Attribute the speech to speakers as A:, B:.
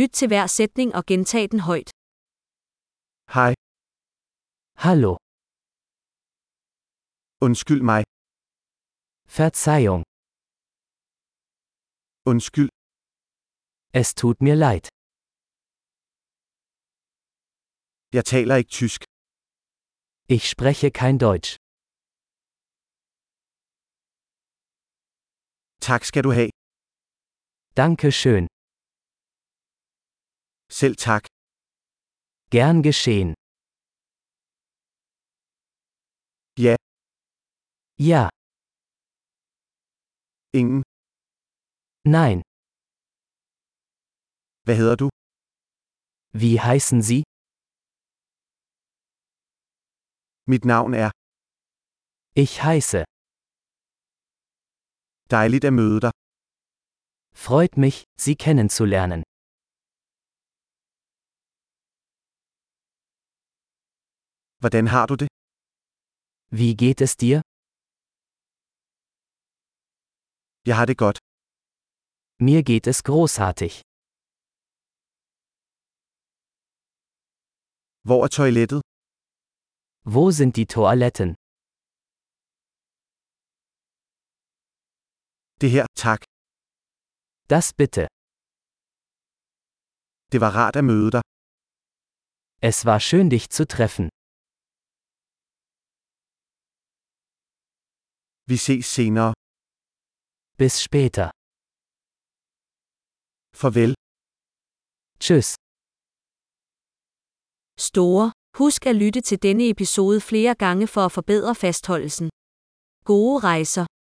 A: Lyt til hver sætning og gentag den højt.
B: Hej,
C: Hallo,
B: undskyld mig,
C: Verzeihung,
B: undskyld,
C: es tut mir leid.
B: jeg taler ikke tysk.
C: Ich spreche kein Deutsch.
B: Tak skal du have.
C: Danke schön.
B: Selv tak.
C: Gern geschehen.
B: Ja.
C: Ja,
B: Ingen.
C: nein.
B: Hvad hedder du?
C: Wie heißen Sie?
B: Mit navn er.
C: Ich heiße.
B: Dejligt at møde dig.
C: Freut mich, Sie kennenzulernen.
B: Hvordan har du det?
C: Wie geht es dir?
B: Jeg har det godt.
C: Mir geht es großartig.
B: Hvor er toilettet?
C: Wo sind die Toiletten?
B: Det her, tak.
C: Das bitte.
B: Det var rart at møde dig.
C: Es war schön, dich zu treffen.
B: Vi ses senere.
C: Bis später.
B: Farvel.
C: Tschüss.
A: Store. Husk at lytte til denne episode flere gange for at forbedre fastholdelsen. Gode rejser.